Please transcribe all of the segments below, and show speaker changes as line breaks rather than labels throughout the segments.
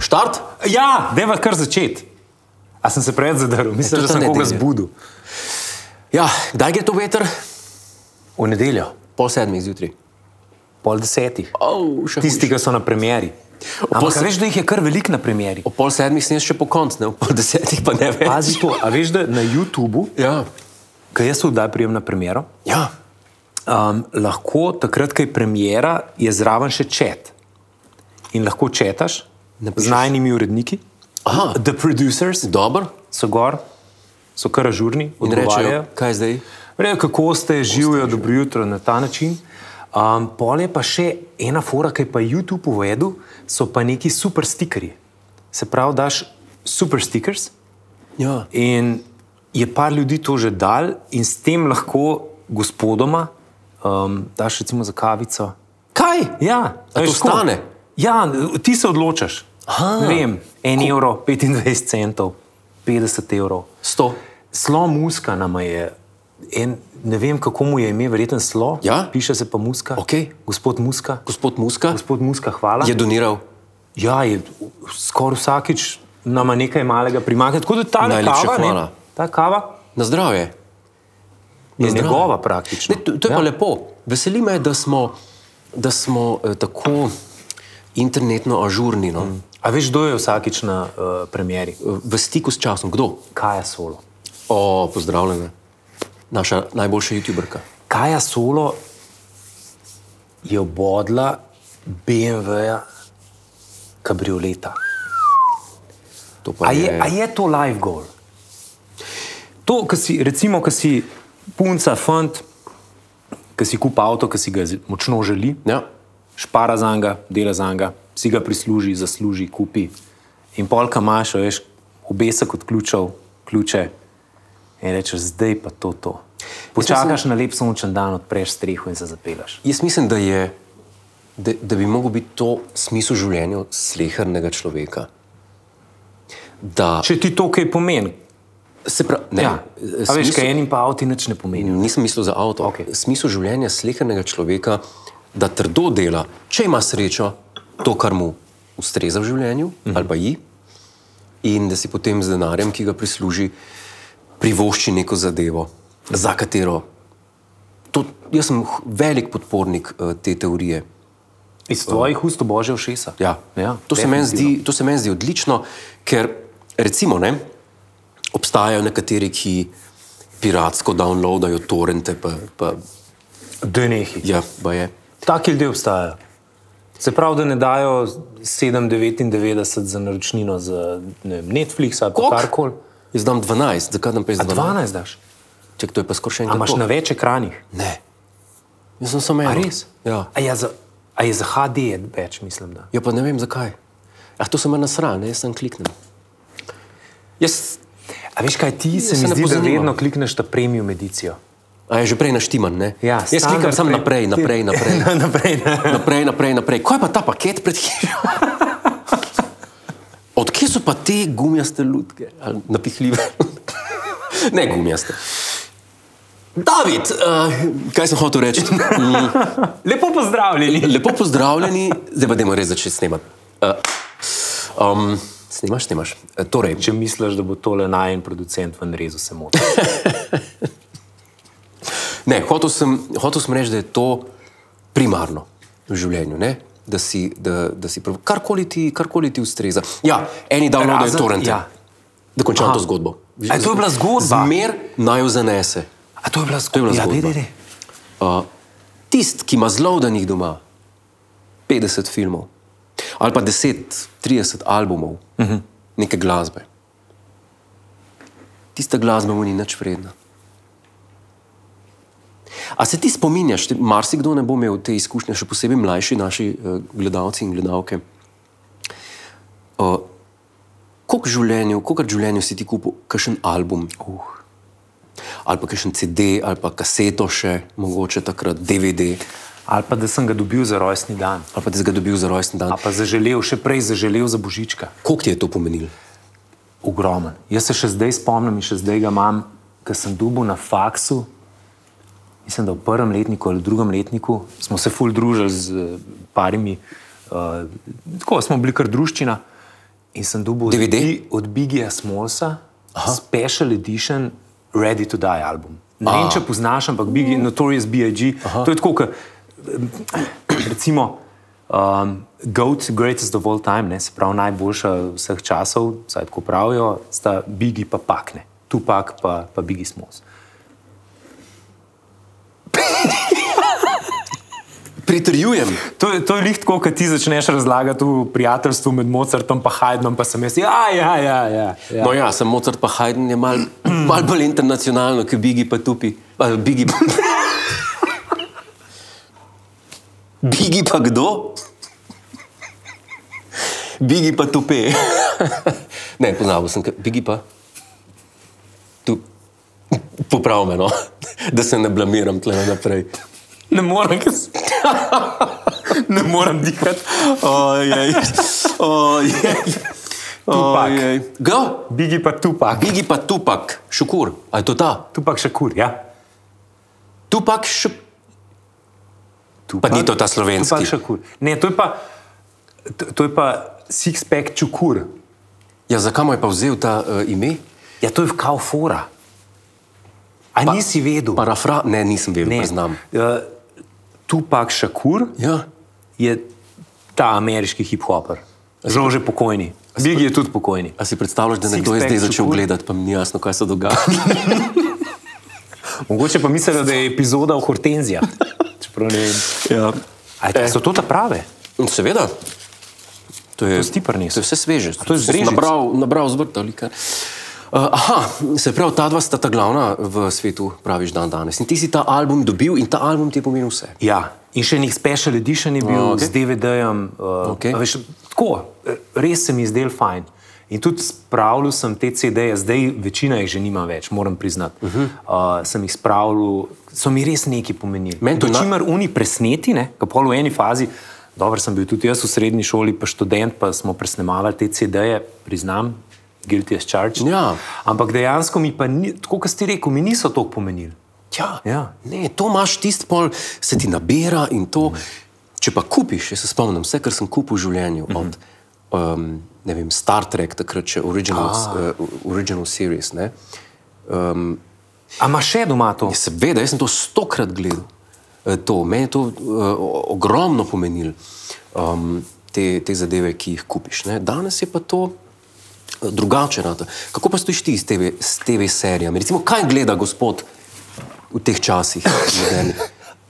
Štart?
Ja, deva kar začeti. A sem se preveč zadaril,
E,
mislim,
to
da
ta
sem koga
nedelja.
zbudil.
Ja, kdaj gre to veter?
V nedeljo,
Pol sedmih zjutraj.
pol desetih.
Oh, še
Tisti, ki so na premjeri. Ampak
se-
veš, da jih je kar veliko na premjeri.
O pol sedmih sem jaz še po koncu, ne? o pol desetih pa ne več.
Pazi to, a veš, da na YouTubu,
Ja,
ki jaz vdaj prijem na premjero,
ja.
um, lahko takrat, ko je premjera, je zraven še čet. In lahko četaš
Napišeš.
z najnižjimi uredniki,
Aha.
the producers,
dobro.
so gor, so kar ažurni,
In rečejo,
odgovarjajo.
kaj zdaj?
Rejo, kako ste, živijo, dobro jutro na ta način. Um, pol je pa še ena fora, ki je pa YouTube uvedel, so pa neki super stikerji. Se pravi, daš super stickers
Ja.
in je par ljudi to že dal in s tem lahko gospodoma um, daš recimo za kavico.
Kaj?
Ja,
A
veš,
to
tako.
stane?
Ja, ti se odločaš.
Aha.
Ne Vem, en Ko... evro, 25 centov, 50 evrov.
Sto.
Slo muska nam je. En, ne vem, kako mu je ime, verjeten slo.
Ja?
Piše se pa muska.
Okej.
Gospod Muska.
Gospod Muska
Gospod Muska, hvala.
je doniral.
Ja, je skoraj vsakič nama nekaj malega primanjka. Tako da ta
Najlepša
kava,
hvala.
ne, ta kava
Na zdravje.
je
zdravje.
njegova praktično.
Ne, to, to je ja. pa lepo. Veseli me, da smo, da smo eh, tako internetno ažurni, no? mm.
A veš, kdo je vsakič na uh, premjeri?
v stiku s časom. Kdo?
Kaja Solo.
O, pozdravljena. Naša najboljša YouTuberka.
Kaja Solo je obodla BMW-ja kabrioleta.
To pa
A je, a je to life goal? To, kar si, recimo, ki si punca, fant, ki si kupa avto, ki si ga z- močno želi,
Ja.
špara za njega, dela za njega, si ga prisluži, zasluži, kupi. In polka imaš, a veš, obesek od ključev, ključe. In rečeš, zdaj pa to. to. Počakaš na lep sončen dan, odpreš streho in se zapelaš.
Jaz mislim, da, je, da, da bi lahko bil to smisel življenja slehrnega človeka. Da,
Če ti to kaj pomeni,
se pravi, ne,
ja.
eh,
A veš,
smisel-
kaj enim pa avti nič ne pomeni.
Nisem mislil za avto.
Okej.
Smisel življenja slehrnega človeka, da trdo dela, če ima srečo, to, kar mu ustreza v življenju, mhm. ali pa ji, in da si potem z denarjem, ki ga prisluži, privošči neko zadevo, za katero. To, jaz sem h- velik podpornik eh, te teorije.
Iz tvojih ust obožje všesa.
Ja.
Ja,
to, se meni zdi, to se meni zdi odlično, ker recimo, ne, obstajajo nekateri, ki piratsko downloadajo torente, pa, pa
Da nehi.
ja, pa je.
Taki ljudje obstajajo. Se pravi, da ne dajo 7,99 za naročnino za ne vem, Netflix ali pa
Koliko?
karkoli.
Jaz dam 12, zakaj dam pa jaz
A
12?
12 daš.
Če to je pa skoraj še
A
enkrat.
imaš
to.
na več ekranih?
Ne. Jaz sem samo en.
A res?
Ja.
A, ja za, a je za HD je več, mislim. Da.
ja, pa ne vem zakaj. Ah, to sem meni nasran, ne, jaz sem kliknem. Jaz,
A veš kaj ti, se
se
mi
ne
zdi, da
pozanimam.
vedno klikneš na premium edicijo.
a je že prej naštiman, ne?
Ja,
jaz klikam
standard
samo naprej, naprej,
pre-
naprej.
Naprej, ne.
naprej, naprej, naprej. Kaj je pa ta paket pred hišo? Odkje so pa te gumijaste lutke, ali napihljive? ne gumijaste. David, uh, kaj sem hotel reči? Mm,
Lepo pozdravljeni.
lepo pozdravljeni, zdaj pa dajmo res začeti snemati. Uh, um, snemaš, snemaš. Eh, Torej,
Če misliš, da bo tole najen producent v rezu, se moti.
ne, hotel sem, hotel sem reči, da je to primarno v življenju. Ne? Da si, da, da si prav, karkoli, ti, karkoli ti ustreza. Ja, eni downloadajo
Razen-
torrente.
ja.
Da končam
Aha.
to zgodbo.
A je to bila zgodba?
Zmer naj jo zanese.
A to je bila
To je bila
Ja, daj,
zgodba.
daj, daj.
Uh, Tisti, ki ima zlovdanih doma 50 filmov ali pa 10, 30 albumov uh -huh. neke glasbe, tista glasba mu ni nič vredna. A se ti spominjaš, ti- marsikdo ne bo imel te izkušnje, še posebej mlajši naši uh, gledalci in gledalke. Uh, Koliko življenju, koliko življenju si ti kupil, kakšen album? Uh ali pa še CD, ali pa kaseto še, mogoče takrat DVD,
Ali pa da sem ga dobil za rojstni dan.
ali pa da si ga dobil za rojsten dan.
A pa zaželel, še prej zaželel za božička.
Kako ti je to pomenilo?
ogromen. Jaz se še zdaj spomnim in še zdaj ga imam, ker sem dubu na faksu. Mislim, da v prvem letniku ali drugem letniku smo se ful družili z eh, parimi, uh, tako smo bili kar družščina. In sem dubu od,
DVD?
Bi- od Bigija Smolsa, special edition, ready to die album. Ne vem, če poznaš, ampak Biggie, Notorious B.I.G. To je tako, kot recimo um, Goat, greatest of all time, ne, se pravi najboljša vseh časov, vsaj tako pravijo, sta Biggie pa Pakne, Tupak pa, pa Biggie Smols.
Pritrjujem.
To, je- to je lih tako, kot ti začneš razlagati v prijateljstvu med Mozartom in Haydnom, pa sem jaz, ja, ja, ja. ja, ja.
No, ja, sem Mozart pa Haydn je mal, mal bolj internacionalno, kot Bigi pa Tupi. Ali Bigi pa. Bigi pa kdo? Bigi pa Tupi. ne, pozabil sem, kaj- Bigi pa. Tu. Poprav me, no. da se ne blamiram tle naprej.
Ne morem, ker sem. ne morem dihati.
Ojej, ojej.
Tupak.
Ojej. Kdo?
Bigi pa Tupak.
Bigi pa Tupak, šukur, a je to ta?
Tupak še kur, ja.
Tupak, šup...
Tupak,
ni to ta slovenski.
Tupak še kur. Ne, to je pa, to, to je pa six-pack čukur.
ja, zakaj mu je pa vzel ta uh, ime?
Ja, to je kao fora. A pa, nisi vedel?
Parafra, ne, nisem vedel,
ne.
priznam.
Uh, Tupak Šakur
Ja.
je ta ameriški hip-hoper. Žal že pokojni. Bigi je tudi pokojni.
A si predstavljaš, da
Six
nekdo je
pack
zdaj začel
šukur.
gledati, pa mi ni jasno, kaj se dogaja?
Mogoče pa mislijo, da je epizoda o Hortenzijah. Čeprav ne vem.
ja.
A je- so to ta prave?
Seveda. To je,
si ti prinesel?
to je vse sveže.
to je iz Brežic?
Nabral, nabral zvrta. Uh, aha, se pravi, ta dva sta ta glavna v svetu, praviš dan danes. In ti si ta album dobil in ta album ti je pomenil vse.
Ja. In še nek special edition je bil
A, okej.
okay. z DVD-jem. Uh,
Okej.
a veš, Tako, eh, res se mi je zdel fajn. In tudi spravljal sem te CD-je, zdaj večina jih že nima več, moram priznati. Uh
Mhm.
-huh. uh, sem jih spravljal, so mi res nekaj pomenili.
Meni to na-
Čimer oni presneti, ki pol v eni fazi. Dobro, sem bil tudi jaz v srednji šoli, pa študent, pa smo presnemavali te CD-je, priznam, guilty as charged.
Ja.
Ampak dejansko mi pa, ni, tako kot ste rekel, mi niso to pomenili.
Ja,
Ja.
Ne, to imaš tisti pol, se ti nabira in to. Mm. Če pa kupiš, jaz se spomnim vse, kar sem kupil v življenju. Mm -hmm. Od, um, ne vem, Star Trek, takrat še original, ah. uh, original series. Ne?
Ampak še doma to?
Ja, Seveda, jaz sem to stokrat gledal. Eh, To, meni je to uh, ogromno pomenilo, um, te, te zadeve, ki jih kupiš. Ne? Danes je pa to eh, drugače. Rata. Kako pa stojiš ti s TV, s TV serijami? Recimo, kaj gleda gospod v teh časih? modernih?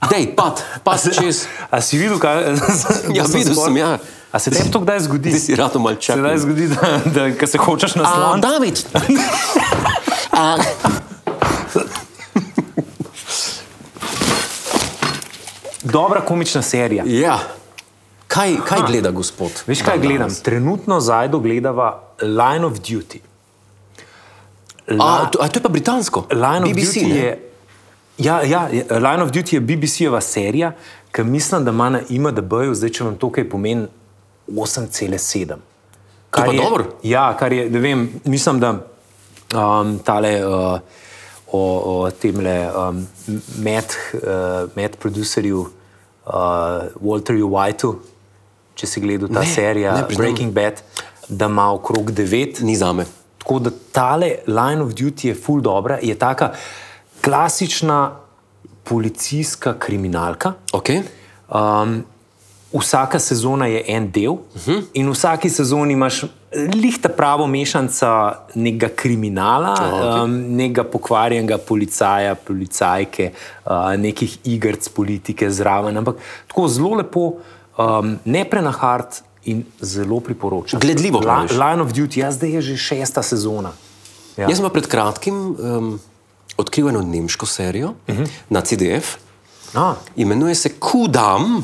Dej, pad, pad čez.
A si videl, kaj
Ja,
sem
videl
skor-
sem, ja.
A se tebi to kdaj zgodi?
Ti si rado malo
Se
čakal.
kdaj zgodi, da, da ko se hočeš
A,
nasloniti?
David! A,
Dobra komična serija.
ja. Kaj, kaj gleda gospod?
Ah. Veš, kaj
dan
gledam?
danes?
Trenutno zajdo gledava Line of Duty.
A, to, a to je pa britansko.
Line of
BBC,
Duty
ne?
je. Ja, ja, je- Line of Duty je BBC-jeva serija, ki mislim, da ima na IMDB-ju, zdaj če vam to kaj pomeni, 8,7.
pa
je-
dobro.
Ja, kar je, ne vem, mislim, da um, tale. Uh, O, o tem le um, med, uh, med producerju uh, Walterju Whiteu, če si gledal ta
Ne,
serija
ne, priznam.
Breaking Bad, da ima okrog 9
Ni za me.
Tako da tale line of duty je full dobra, je taka klasična policijska kriminalka.
Okay.
Um, vsaka sezona je en del uh -huh. in v vsaki sezoni imaš eh, lihta pravo mešanica nekega kriminala, oh,
okej.
okay. um, nekega pokvarjenega policaja, policajke, uh, nekih igric politike zraven. Ampak tako zelo lepo, um, ne prenahart in zelo priporočam.
Gledljivo
La,
praviš.
Line of Duty, ja, zdaj je že šesta sezona. Ja.
Jaz sem pa pred kratkim um, odkril eno nemško serijo uh -huh. na CDF,
Ah,
imenuje se Kudam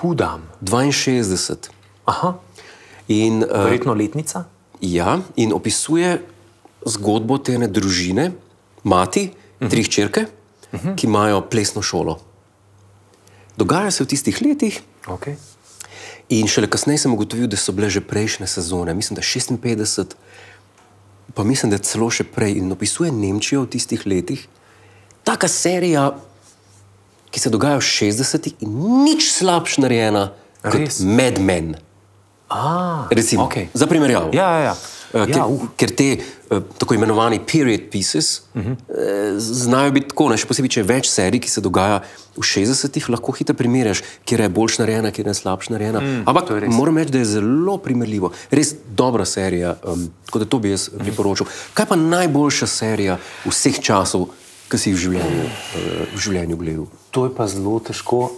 kudam.
62.
Aha,
In, uh,
verjetno letnica.
ja, in opisuje zgodbo te ene družine, mati, uh -huh. tri hčerke, uh -huh. ki imajo plesno šolo. Dogaja se v tistih letih,
Okay.
In šele kasneje sem ugotovil, da so bile že prejšnje sezone, mislim, da 56 pa mislim, da celo še prej in opisuje Nemčijo v tistih letih, taka serija, ki se dogaja v 60-ih in nič slabš narejena
Res?
kot Mad Men.
Ah,
Recimo,
okej.
Za primerjavo.
Ja, ja, ja.
Eh, Ker,
ja,
ja,
uh,
ker te eh, tako imenovani period pieces uh
Mhm.
-huh. znajo biti tako, ne, še posebej, če je več serij, ki se dogaja v 60-ih, lahko hitro primerjaš, kje je boljš narejena, kje je slabš narejena. Mm, Ampak moram reči, da je zelo primerljivo. Res dobra serija, um, tako da to bi jaz
Mhm.
priporočil. Kaj pa najboljša serija vseh časov, ki si jih v življenju, eh, v življenju gledal?
to je pa zelo težko.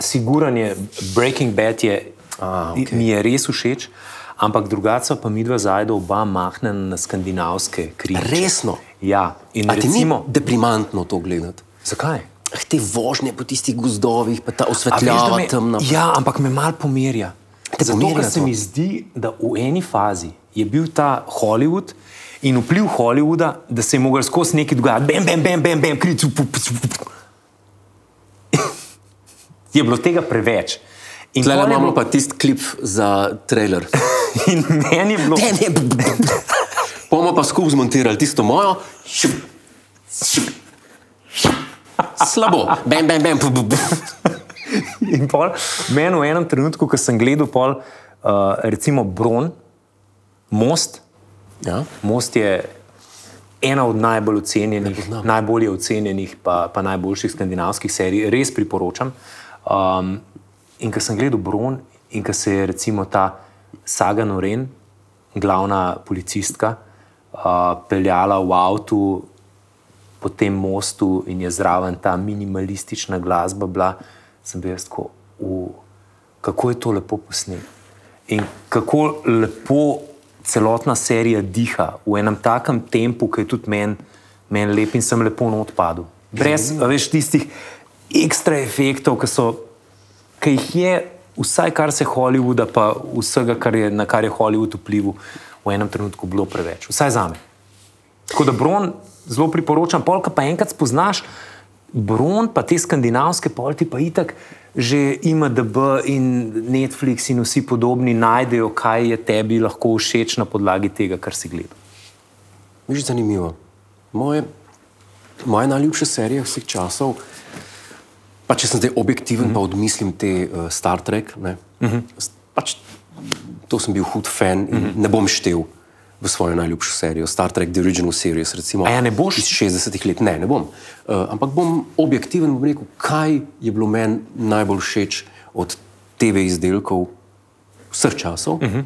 Siguranje Breaking Bad je,
Ah,
ah,
okej.
okay. mi je res všeč, ampak drugače pa mi dva zajda oba mahnjena na skandinavske krize.
Resno?
Ja, in
A ti
recimo,
ni deprimantno to gledati?
zakaj?
Ah, te vožnje po tistih gozdovih, pa ta
A veš, da
osvetljava
me-
temna.
Ja, ampak me malo pomirja.
Te
Zato,
pomirja
ker se
to?
mi zdi, da v eni fazi je bil ta Hollywood in vpliv Hollywooda, da se je mogel skozi nekaj dogajati, bam, bam, bam, bam, bam krič. up, up, up, up. Je bilo tega preveč. In,
Tle
pol je
imamo
bilo,
pa tisti klip za trailer.
in meni je bilo
Ne, ne, b- b- b- Bomo pa skupaj zmontirali tisto mojo. Šup, šup, šup. Slabo, bam, bam, bam. bu, bu, bu.
In pol, meni v enem trenutku, ko sem gledal, pol, uh, recimo Bron, Most.
Ja.
Most je ena od najbolj ocenjenih,
poznam.
najbolje ocenjenih, pa, pa najboljših skandinavskih serij, res priporočam. Um, in ko sem gledal Bron in ko se je recimo ta Saga Noren, glavna policistka, uh, peljala v avtu po tem mostu in je zraven ta minimalistična glasba bila, sem bil jaz tako, "U, kako je to lepo posnet. In kako lepo celotna serija diha v enem takem tempu, ki je tudi meni men lep in sem lepo not padel. Brez a veš, tistih ekstra efektov, ki so. Ki jih je, vsaj kar se Hollywooda, pa vsega, kar je, na kar je Hollywood vplival, v enem trenutku bilo preveč, vsaj za me. Tako da bron zelo priporočam, polka pa enkrat spoznaš, bron pa te skandinavske polti pa itak. Že IMDB in Netflix in vsi podobni najdejo, kaj je tebi lahko všeč na podlagi tega, kar si gledal.
Viš, zanimivo. Moje, moje najljubše serije vseh časov, pa če sem zdaj objektiven, mm
Mhm.
-hmm. pa odmislim te uh, Star Trek, ne, mm -hmm. pač, to sem bil hud fan in
Mhm.
mm -hmm. ne bom štev v svojo najljubšo serijo, Star Trek The Original Series. Recimo,
A ja, ne boš?
Iz 60-ih let, ne, ne bom. Uh, ampak bom objektiven, bom rekel, kaj je bilo meni najbolj všeč od TV izdelkov vseh časov. Mm -hmm.
Mhm.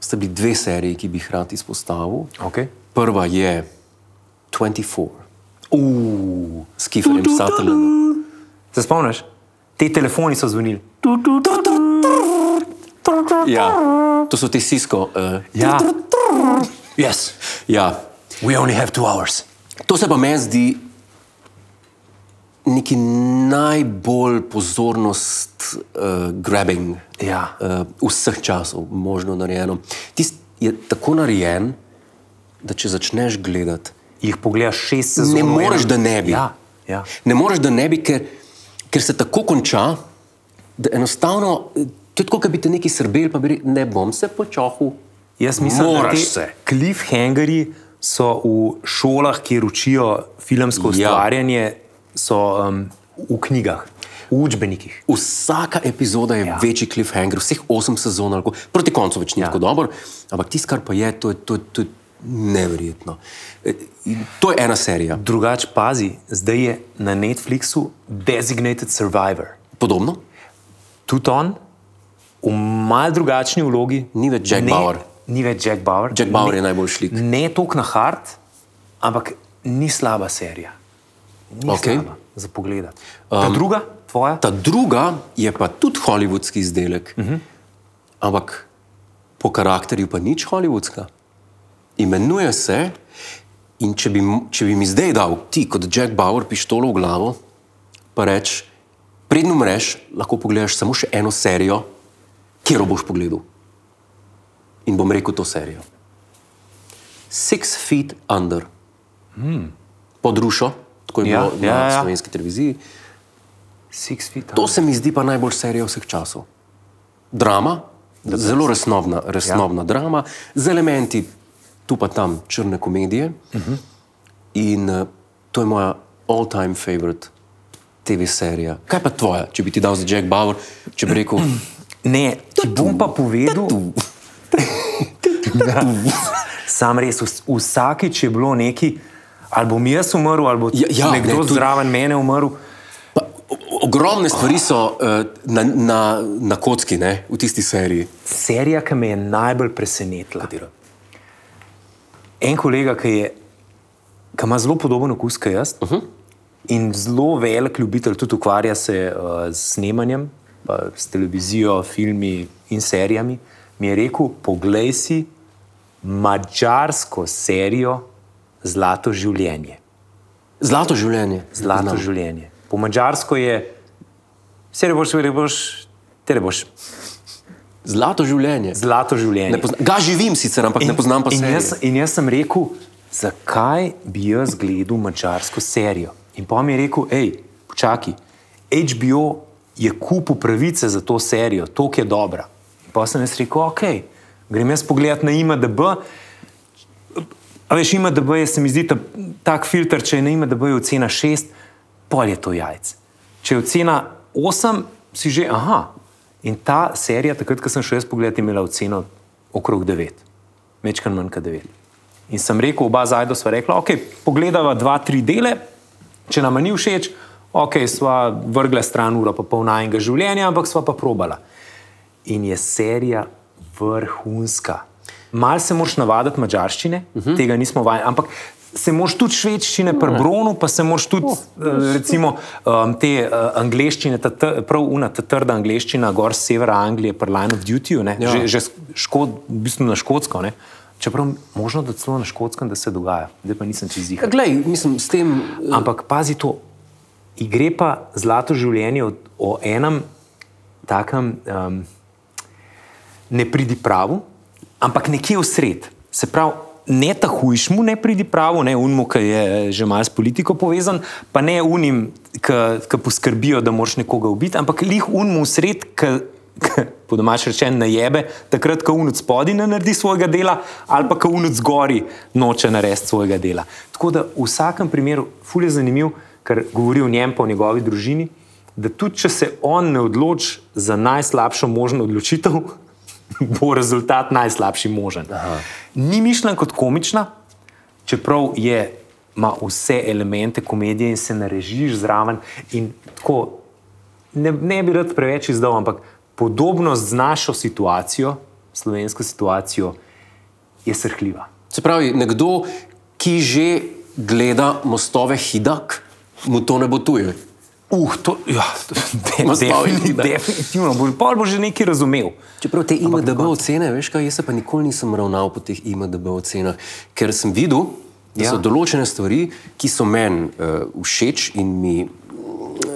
Sta bili dve seriji, ki bi jih rad izpostavil.
Okay.
Prva je 24
Uh,
s Kiferjem Sutherlandom.
se spomniš? Te telefoni so zvonili.
Ja, to so ti Sisko. Uh,
Ja,
yes. ja.
we only have two hours.
To se pa meni zdi neki najbolj pozornost uh, grabbing
Ja.
uh, vseh časov, možno narejeno. Tisti je tako narejen, da če začneš gledati,
Jih pogledaš šest sezon.
ne
v enem.
moreš, da ne bi.
Ja, ja.
Ne moreš, da ne bi, ker, ker se tako konča, da enostavno, eh, to je tako, kot bi te neki srbeli, pa bi rekel, ne bom se počohal.
Jaz mislim,
Moraš
da
se.
te cliffhangerji so v šolah, kjer učijo filmsko
Ja.
ustvarjanje, so um, v knjigah, v učbenikih.
Vsaka epizoda je ja.
Ja.
večji cliffhanger, vseh osem sezon, ali kako- proti koncu več ni ja. tako dobro, ampak tisto, kar pa je, to je, to je, to je neverjetno. Eh, in To je ena serija.
Drugač pazi, zdaj je na Netflixu Designated Survivor.
Podobno,
Tudi on, v mal drugačni vlogi.
Ni več Jack
ne,
Bauer.
Ni več Jack Bauer.
Jack Bauer
ne,
je najbolj šlik.
Ne tok na hard, ampak ni slaba serija. Ni
Okej.
okay. slaba za pogled. Um, druga, tvoja?
Ta druga je pa tudi holivudski izdelek, uh
Mhm.
-huh. ampak po karakterju pa nič holivudska. Imenuje se. In če bi, m- če bi mi zdaj dal ti, kot Jack Bauer, pištolo v glavo, pa reč, predno mreš, lahko pogledaš samo še eno serijo, kjer jo boš pogledal. In bom rekel to serijo. Six feet under, hmm. pod rušo, tako je
Ja,
bilo na
ja, ja.
slovenski televiziji.
Six Feet.
To se mi zdi pa najbolj serija vseh časov. Drama, zelo resnovna, resnovna ja. drama, z elementi tu pa tam črne komedije. Uh -huh. In uh, to je moja all-time favorite TV serija. Kaj pa tvoja, če bi ti dal za Jack Bauer, če bi rekel,
Ne, ti bom pa povedal. Ja. Sam res, vs- vsakič je bilo neki, ali bom jaz umrl, ali bo
Ja, ja, ne,
nekdo ne,
tudi-
zraven mene umrl.
pa, o- o- ogromne stvari so uh, na, na, na kocki, ne, v tisti seriji.
Serija, ki me je najbolj presenetila.
Katera?
En kolega, ki, je, ki ima zelo podoben okus kot jaz uh -huh.
Mhm.
in zelo velik ljubitelj, tudi ukvarja se uh, z snemanjem, pa s televizijo, filmi in serijami, mi je rekel: Poglej si mačarsko serijo Zlato življenje.
Zlato življenje.
Zlato
Znam.
življenje. Po mačarsko je, vse reboš, reboš, te reboš.
Zlato življenje.
Zlato življenje.
Ne pozna- Ga živim sicer, ampak in, ne poznam pa
in jaz,
se.
in jaz sem rekel, zakaj bi jaz gledal mačarsko serijo. In pa mi je rekel, hej, počakaj, HBO je kupil pravice za to serijo, to je dobra. In pa sem jaz rekel, ok, grem jaz pogledat na IMDB. A veš, IMDB je, se mi zdi, ta, tak filter, če je na IMDB je ocena 6, pol je to jajce. Če je ocena 8, si že, aha. In ta serija, takrat, ko sem šel jaz pogledat, je imela oceno okrog 9, večkrat manj kot 9. In sem rekel, oba zajdo sva rekla, ok, pogledava dva, tri dele, če nam ni všeč, ok, sva vrgla stran uro pa pol najnega življenja, ampak sva pa probala in je serija vrhunska. Mal se moraš navaditi mačarščine, uh -huh. tega nismo vajeni, ampak se moraš tudi švedščine pri bronu, pa se moraš tudi oh, recimo, um, te uh, angliščine, ta, tr- prav una, ta trda angliščina, gor z severa Anglije, pri Line of Duty, ne,
Ja.
že, že s- škod, v bistvu na škotsko. Ne. Čeprav možno, da celo na škotskem, da se dogaja, zdaj pa nisem čez jih.
Glej, mislim, s tem.
Ampak pazi to, igre pa zlato življenje o, o enem takem um, ne pridi pravu, ampak nekje vsred. Se pravi, ne ta hujš mu ne pridi pravu, ne unmu, ki je eh, že malo s politiko povezan, pa ne unim, ki ki poskrbijo, da moraš nekoga ubiti, ampak lih unmu vsred, ki. Po domač rečen, na jebe, takrat, ko unuc spodi ne naredi svojega dela, ali pa ko unuc zgori noče narediti svojega dela. Tako da v vsakem primeru, fulj je zanimiv, ker govori o njem, pa o njegovi družini, da tudi če se on ne odloči za najslabšo možno odločitev, bo rezultat najslabši možen. Aha. Ni mišljen kot komična, čeprav je, ima vse elemente komedije in se narežiš zraven. In tako, ne, ne bi rad preveč izdal, ampak podobnost z našo situacijo, slovensko situacijo, je srhljiva.
Se pravi, nekdo, ki že gleda mostove Hidak, mu to ne bo tuje.
Uh, to, ja, de,
Nastavi, da.
definitivno, definitivno. bo- Pol bo že nekaj razumel.
Čeprav te IMDB ocene, veš kaj, jaz se pa nikoli nisem ravnal po teh IMDB ocenah, ker sem videl, da
Ja.
so določene stvari, ki so meni uh, všeč in mi eh,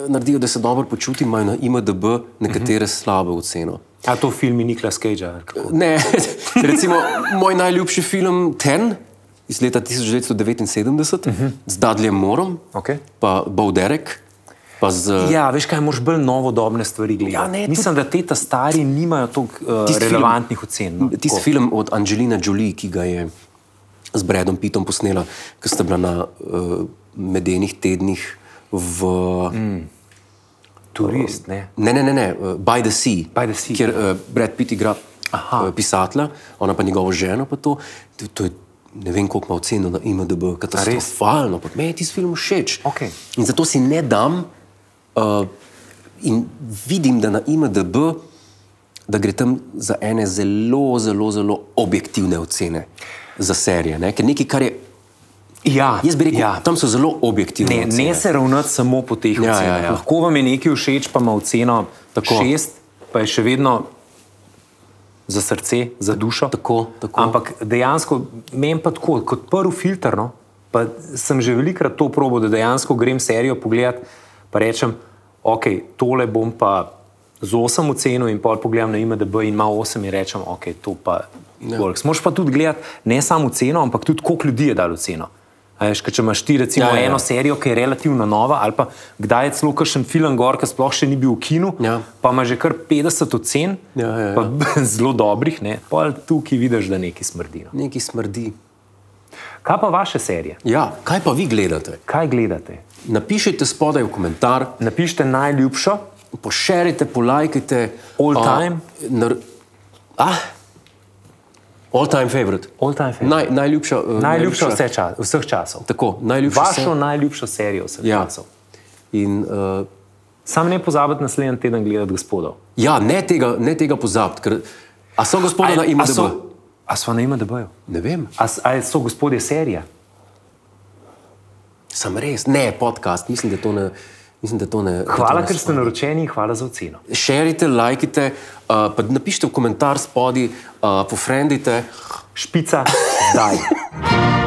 naredijo, da se dobro počutim, imajo na IMDB nekatere slabo oceno.
A to film je Niklas Cage?
Ne, recimo moj najljubši film Ten iz leta 1979 uh -huh. z Dadljem Morom,
Okay.
pa Bowderek, pa z ja,
Ja, veš kaj, moraš bolj novodobne stvari gledati.
Ja, ne, tudi-
Mislim, da te ta stari nimajo toliko uh,
Tisti film-
relevantnih ocen. No,
tisti
tako.
film od Angelina Jolie, ki ga je z Bradom Pittom posnela, ki sta bila na uh, medenih tednih v. Mm.
Turist, ne.
Ne, ne, ne, ne, eh, By the Sea,
By the Sea.
kjer uh, Brad Pitt igra
Aha.
uh, pisatelja, ona pa njegovo ženo. Pa to, to, to je, ne vem, koliko ima oceno na IMDB, katastrofalno. ampak Meni je tisti film všeč.
Okej.
In zato si ne dam uh, in vidim, da na IMDB. Da gre tam za ene zelo, zelo, zelo objektivne ocene za serije. Ne? Ker nekaj, kar je.
Ja,
Jaz bi rekel,
ja.
ja. tam so zelo objektivne.
Ne,
ocene.
ne se ravnati samo po teh
Ja,
ocenah.
ja, ja.
Lahko vam je nekaj všeč, pa ima oceno tako. šest, pa je še vedno za srce, za dušo.
tako, tako.
Ampak dejansko, meni pa tako, kot prvi filter, no, pa sem že velikrat to probo, da dejansko grem serijo pogledat, pa rečem, ok, tole bom pa z 8 ocenil in pol pogledam na IMDB in ima 8 in rečem, ok, to pa
Ja.
works. Moš pa tudi gledati ne samo ceno, ampak tudi koliko ljudi je dalo ceno. A Veš, ker če imaš ti recimo
Ja,
ja,
ja, ja.
ja. eno serijo, ki je relativno nova, ali pa kdaj je celo kakšen film gor, ki sploh še ni bil v kinu,
Ja.
pa ima že kar 50 ocen,
Ja, ja, ja.
pa zelo dobrih, ne? pol tu, ki vidiš, da nekaj smrdi. No.
Nekaj smrdi.
Kaj pa vaše serije?
Ja, kaj pa vi gledate?
Kaj gledate?
Napišite spodaj v komentar,
Napišite najljubšo,
pošerite, polajkajte.
All
a,
time?
Nar, ah, all time favorite.
all-time film.
Naj, najljubša, eh,
Najljubša vse čas, vseh časov.
Tako, najljubša
Vašo
se-
najljubšo serijo vseh
Ja.
časov.
In, uh,
Sam ne pozabite naslednji teden gledati gospodov.
ja, ne tega, ne tega pozabiti. ker- A so gospoda na
a
IMDB?
so- a so na IMDB-ju?
Ne vem,
A, s- a so gospodje serija?
sem res, ne podcast, mislim, da to ne. Mislim, da to ne da to
Hvala,
ne
ker ste
spada.
naročeni in hvala za oceno.
Šerite, lajkite, uh, pa eh, napišite v komentar spodaj, uh, pofrendite.
Špica, daj.